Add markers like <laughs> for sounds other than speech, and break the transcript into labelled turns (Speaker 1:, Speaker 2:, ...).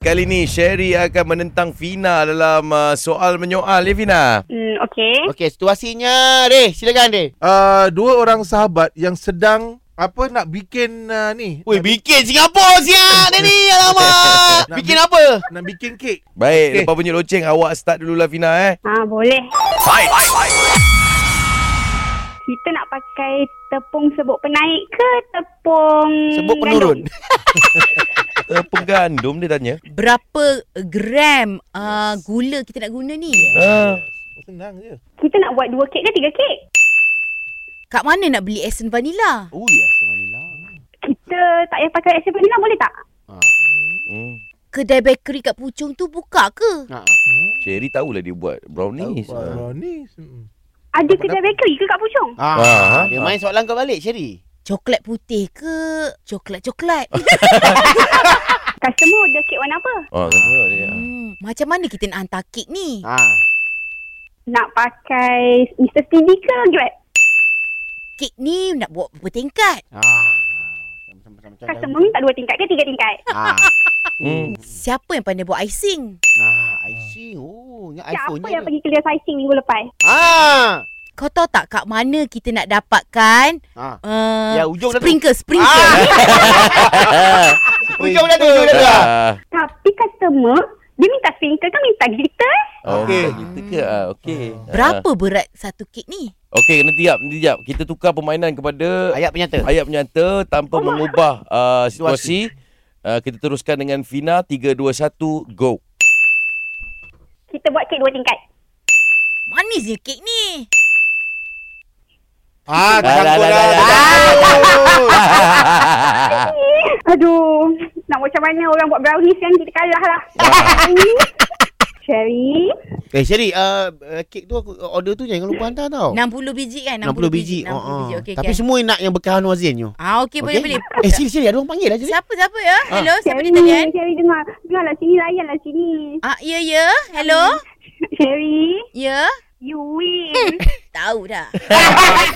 Speaker 1: Kali ni Sherry akan menentang Fina dalam uh, soal menyoal ya Fina.
Speaker 2: Hmm, okey.
Speaker 3: Okey, situasinya Reh, silakan Reh.
Speaker 4: uh, dua orang sahabat yang sedang apa nak bikin uh, ni
Speaker 3: Woi, bikin Singapura siap dia ni. Alamak.
Speaker 4: Nak
Speaker 3: bikin
Speaker 4: bi-
Speaker 3: apa?
Speaker 4: nak bikin kek.
Speaker 1: Baik, okay.
Speaker 4: Okey.
Speaker 1: lepas bunyi loceng awak start dululah Fina eh.
Speaker 2: Ha, boleh. Kita nak pakai tepung sebut penaik ke tepung
Speaker 3: Sebut
Speaker 2: <laughs>
Speaker 3: penurun.
Speaker 2: gandum?
Speaker 1: Tepung gandum dia tanya.
Speaker 5: berapa gram uh, gula kita nak guna ni?
Speaker 1: Ah,
Speaker 4: Senang je.
Speaker 2: Kita nak buat dua kek ke tiga kek?
Speaker 5: Kat mana nak beli essence vanilla?
Speaker 3: Oh, ya, Manila.
Speaker 2: Kita tak payah pakai air vanilla boleh tak?
Speaker 3: Ha.
Speaker 1: hmm.
Speaker 5: Kedai bakery kat Puchong tu buka ke?
Speaker 3: Ha.
Speaker 1: Sherry tahulah dia buat brownies. Ah.
Speaker 4: Brownies. Mm.
Speaker 2: Ada kedai bakery ke kat Puchong?
Speaker 3: Ha.
Speaker 1: Ha, ha.
Speaker 3: Dia main soalan kau balik, Sherry.
Speaker 5: Coklat putih ke? Coklat-coklat.
Speaker 3: Ah,
Speaker 2: Customer order kek warna apa?
Speaker 1: Ah, customer dia.
Speaker 3: ya.
Speaker 5: hmm, macam mana kita nak hantar kek ni?
Speaker 3: Ha.
Speaker 2: Nak pakai Mr. Stevie ke Grab?
Speaker 5: Kek ni nak buat berapa tingkat?
Speaker 3: Ha. Macam-macam-macam.
Speaker 2: Customer minta dua tingkat ke tiga tingkat?
Speaker 3: Ha.
Speaker 1: Hmm.
Speaker 5: Siapa yang pandai buat icing?
Speaker 3: Ha, I see. Oh, ni
Speaker 2: Siapa
Speaker 3: iPhone
Speaker 2: Ya, yang
Speaker 3: je.
Speaker 2: pergi clear sizing minggu lepas?
Speaker 3: Ha.
Speaker 5: Kau tahu tak kat mana kita nak dapatkan
Speaker 3: Ha.
Speaker 5: uh,
Speaker 3: Ya, ujung dah tu.
Speaker 5: sprinkle, sprinkle.
Speaker 3: Ah. Ujung dah tu, ujung dah tu.
Speaker 1: Ah.
Speaker 2: Tapi customer, dia minta sprinkle kan minta glitter?
Speaker 1: Oh,
Speaker 3: Okey.
Speaker 1: okay. kita ke? Ah, okey. Ah.
Speaker 5: <laughs> Berapa berat satu kek ni?
Speaker 1: Okey, nanti jap, nanti jap. Kita tukar permainan kepada
Speaker 3: Ayat penyata.
Speaker 1: ayat penyata tanpa mengubah uh, situasi. Uh, kita teruskan dengan Fina 3 2 1 <laughs> go.
Speaker 2: Kita buat kek dua tingkat.
Speaker 5: Manisnya kek ni.
Speaker 3: Ah,
Speaker 1: Dah, dah, dah,
Speaker 3: tersangkut
Speaker 1: dah,
Speaker 3: dah.
Speaker 1: dah,
Speaker 3: tersangkut. <laughs>
Speaker 2: Aduh, nak buat macam mana orang buat brownies kan kita kalah
Speaker 5: <laughs>
Speaker 2: lah. Sherry,
Speaker 3: Eh, Sherry, ah, eh, kek tu aku order tu jangan
Speaker 2: Ya.
Speaker 3: lupa hantar tau.
Speaker 5: 60 biji kan?
Speaker 3: 60 Oh. biji. oh,
Speaker 5: 60 biji. Okey,
Speaker 3: Tapi
Speaker 5: okey.
Speaker 3: semua nak yang berkahan wazinnyo.
Speaker 5: Ah, okey, boleh, boleh.
Speaker 3: Eh, sini sini ada orang panggil lah jadi.
Speaker 5: Siapa siapa ya? Hello, siapa
Speaker 2: Sherry,
Speaker 5: ni eh? talian?
Speaker 2: Sherry dengar. Dengarlah sini, layanlah sini.
Speaker 5: Ah, ya ya. Hello?
Speaker 2: Sherry,
Speaker 5: Ya.
Speaker 2: you win.
Speaker 5: Tahu dah.